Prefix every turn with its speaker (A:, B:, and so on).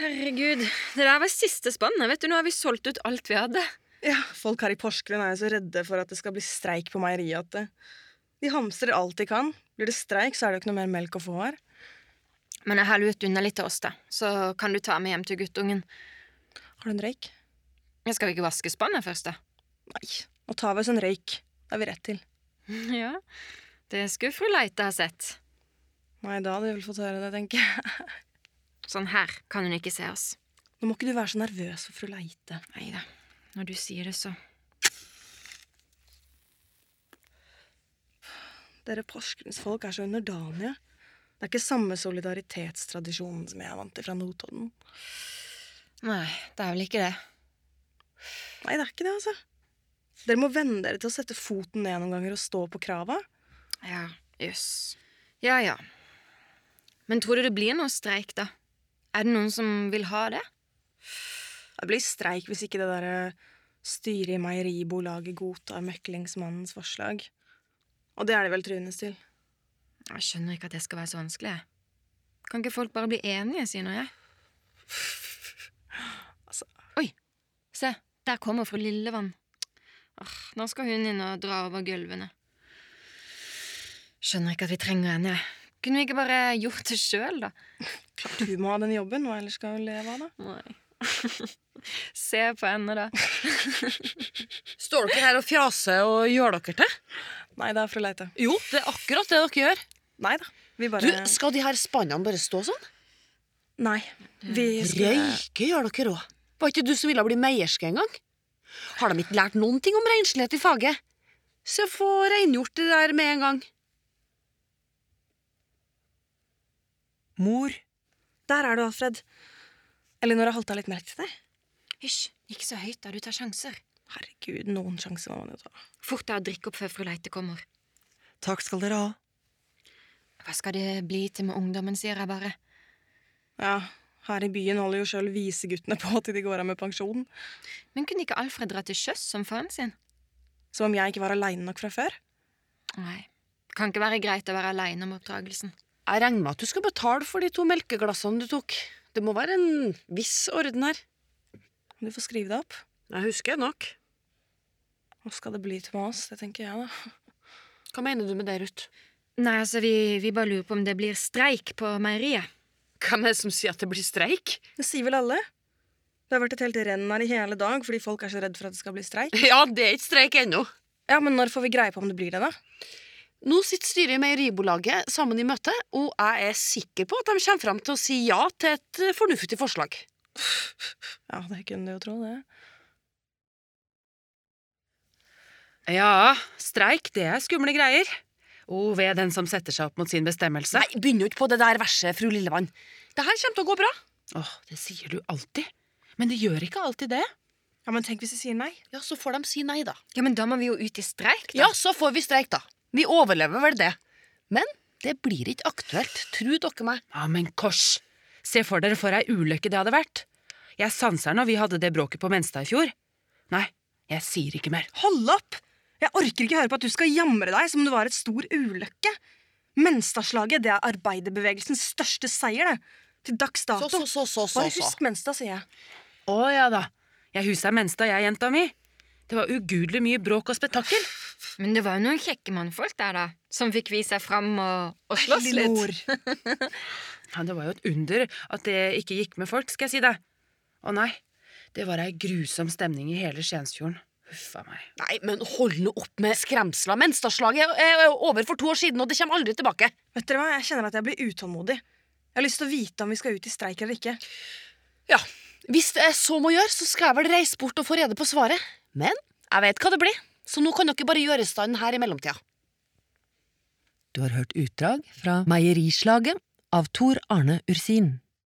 A: Herregud, det der var siste spannet. Vet du, Nå har vi solgt ut alt vi hadde.
B: Ja, folk her i Porsgrunn er jo så redde for at det skal bli streik på meieriet at det- de hamstrer alt de kan. Blir det streik, så er det jo ikke noe mer melk å få her.
A: Men jeg heller ut unna litt til oss, da. Så kan du ta med hjem til guttungen.
B: Har du en røyk?
A: Jeg skal vi ikke vaske spannet først, da?
B: Nei. Nå tar vi oss en røyk. Da er vi rett til.
A: Ja, det skulle fru Leite ha sett.
B: Nei, da hadde vi vel fått høre det, tenker jeg.
A: Sånn her kan hun ikke se oss.
B: Nå må ikke du være så nervøs for fru Leite.
A: Nei da, når du sier det, så
B: Dere porsgrunnsfolk er så underdanige. Det er ikke samme solidaritetstradisjonen som jeg er vant til fra Notodden.
A: Nei, det er vel ikke det.
B: Nei, det er ikke det, altså. Dere må venne dere til å sette foten ned noen ganger og stå på krava.
A: Ja, jøss. Ja ja. Men tror du det blir noe streik, da? Er det noen som vil ha det?
B: Det blir streik hvis ikke det derre styret i meieribolaget godtar møklingsmannens forslag. Og det er de vel truende til.
A: Jeg skjønner ikke at det skal være så vanskelig. jeg. Kan ikke folk bare bli enige, sier nå jeg.
B: Altså.
A: Oi, se, der kommer fru Lillevann. Åh, nå skal hun inn og dra over gulvene. Skjønner ikke at vi trenger henne. jeg. Kunne vi ikke bare gjort det sjøl, da?
B: Klart hun må ha den jobben, hva ellers skal hun leve av, da?
A: Nei. Se på henne, da.
C: Står dere her og fjaser og gjør dere til?
B: Nei da, fru Leite.
C: Jo, det er akkurat det dere gjør.
B: Nei da. Vi
C: Du,
B: bare
C: Skal de her spannene bare stå sånn?
B: Nei. Vi skulle
C: Røyke gjør dere òg. Var ikke du som ville bli meierske engang? Har de ikke lært noen ting om renslighet i faget? Så få rengjort det der med en gang.
D: Mor,
B: Der er du, Alfred. Elinor har holdt deg litt merke til deg.
A: Hysj, ikke så høyt, da. Du tar sjanser.
B: Herregud, noen sjanser må man jo ta.
A: Fort deg og drikk opp før fru Leite kommer.
D: takk skal dere ha.
A: Hva skal det bli til med ungdommen, sier jeg bare.
B: Ja, her i byen holder jo sjøl viseguttene på til de går av med pensjon.
A: Men kunne ikke Alfred dra til sjøs som faren sin?
B: Som om jeg ikke var aleine nok fra før.
A: Nei. Kan ikke være greit å være aleine om oppdragelsen.
C: Jeg regner med at du skal betale for de to melkeglassene du tok. Det må være en viss orden her.
B: Du får skrive deg opp.
C: Jeg husker nok.
B: Hva skal det bli til med oss? Det tenker jeg, da.
C: Hva mener du med det, Ruth?
A: Nei, altså, vi, vi bare lurer på om det blir streik på meieriet.
C: Hvem er det som sier at det blir streik?
B: Det sier vel alle? Det har vært et helt renn her i hele dag fordi folk er så redde for at det skal bli streik.
C: Ja, det er ikke streik ennå.
B: Ja, men når får vi greie på om det blir det, da?
C: Nå sitter styret i Meieribolaget sammen i møte, og jeg er sikker på at de kommer fram til å si ja til et eh, fornuftig forslag.
B: Ja, det kunne du jo tro, det.
E: Ja, streik, det er skumle greier. O, ved den som setter seg opp mot sin bestemmelse.
C: Nei, begynn jo ikke på det der verset, fru Lillevann. Det her kommer til å gå bra.
E: Åh, det sier du alltid. Men det gjør ikke alltid det.
B: Ja, men tenk hvis de sier nei.
C: Ja, så får de si nei, da.
A: Ja, men da må vi jo ut i streik, da.
C: Ja, så får vi streik, da. Vi overlever vel det. Men det blir ikke aktuelt, tror dere meg.
E: Ja, men kors! Se for dere for ei ulykke det hadde vært. Jeg sanser når vi hadde det bråket på Menstad i fjor. Nei, jeg sier ikke mer.
B: Hold opp! Jeg orker ikke høre på at du skal jamre deg som om det var et stor ulykke. Menstadslaget det er arbeiderbevegelsens største seier, det. Til dags dato.
C: Så, så, så, så, så.
B: Bare
C: så.
B: husk Menstad, sier jeg.
E: Å ja da, jeg huser Menstad, jeg, jenta mi. Det var ugudelig mye bråk og spetakkel.
A: Men det var jo noen kjekke mannfolk der, da. Som fikk vise seg fram og, og slåss
B: Lille
A: litt.
B: mor.
E: Ja, det var jo et under at det ikke gikk med folk, skal jeg si deg. Å nei, det var ei grusom stemning i hele Skiensfjorden. Huffa meg.
C: Nei, men hold nå opp med skremsla. Menstadslaget er er over for to år siden, og det kommer aldri tilbake.
B: Vet dere hva, jeg kjenner at jeg blir utålmodig. Jeg har lyst til å vite om vi skal ut i streik eller ikke.
C: Ja, Hvis det er så må gjøre, så skal jeg vel reise bort og få rede på svaret. Men jeg vet hva det blir, så nå kan dere bare gjøre i stand her i mellomtida.
F: Du har hørt utdrag fra Meierislaget av Tor Arne Ursin.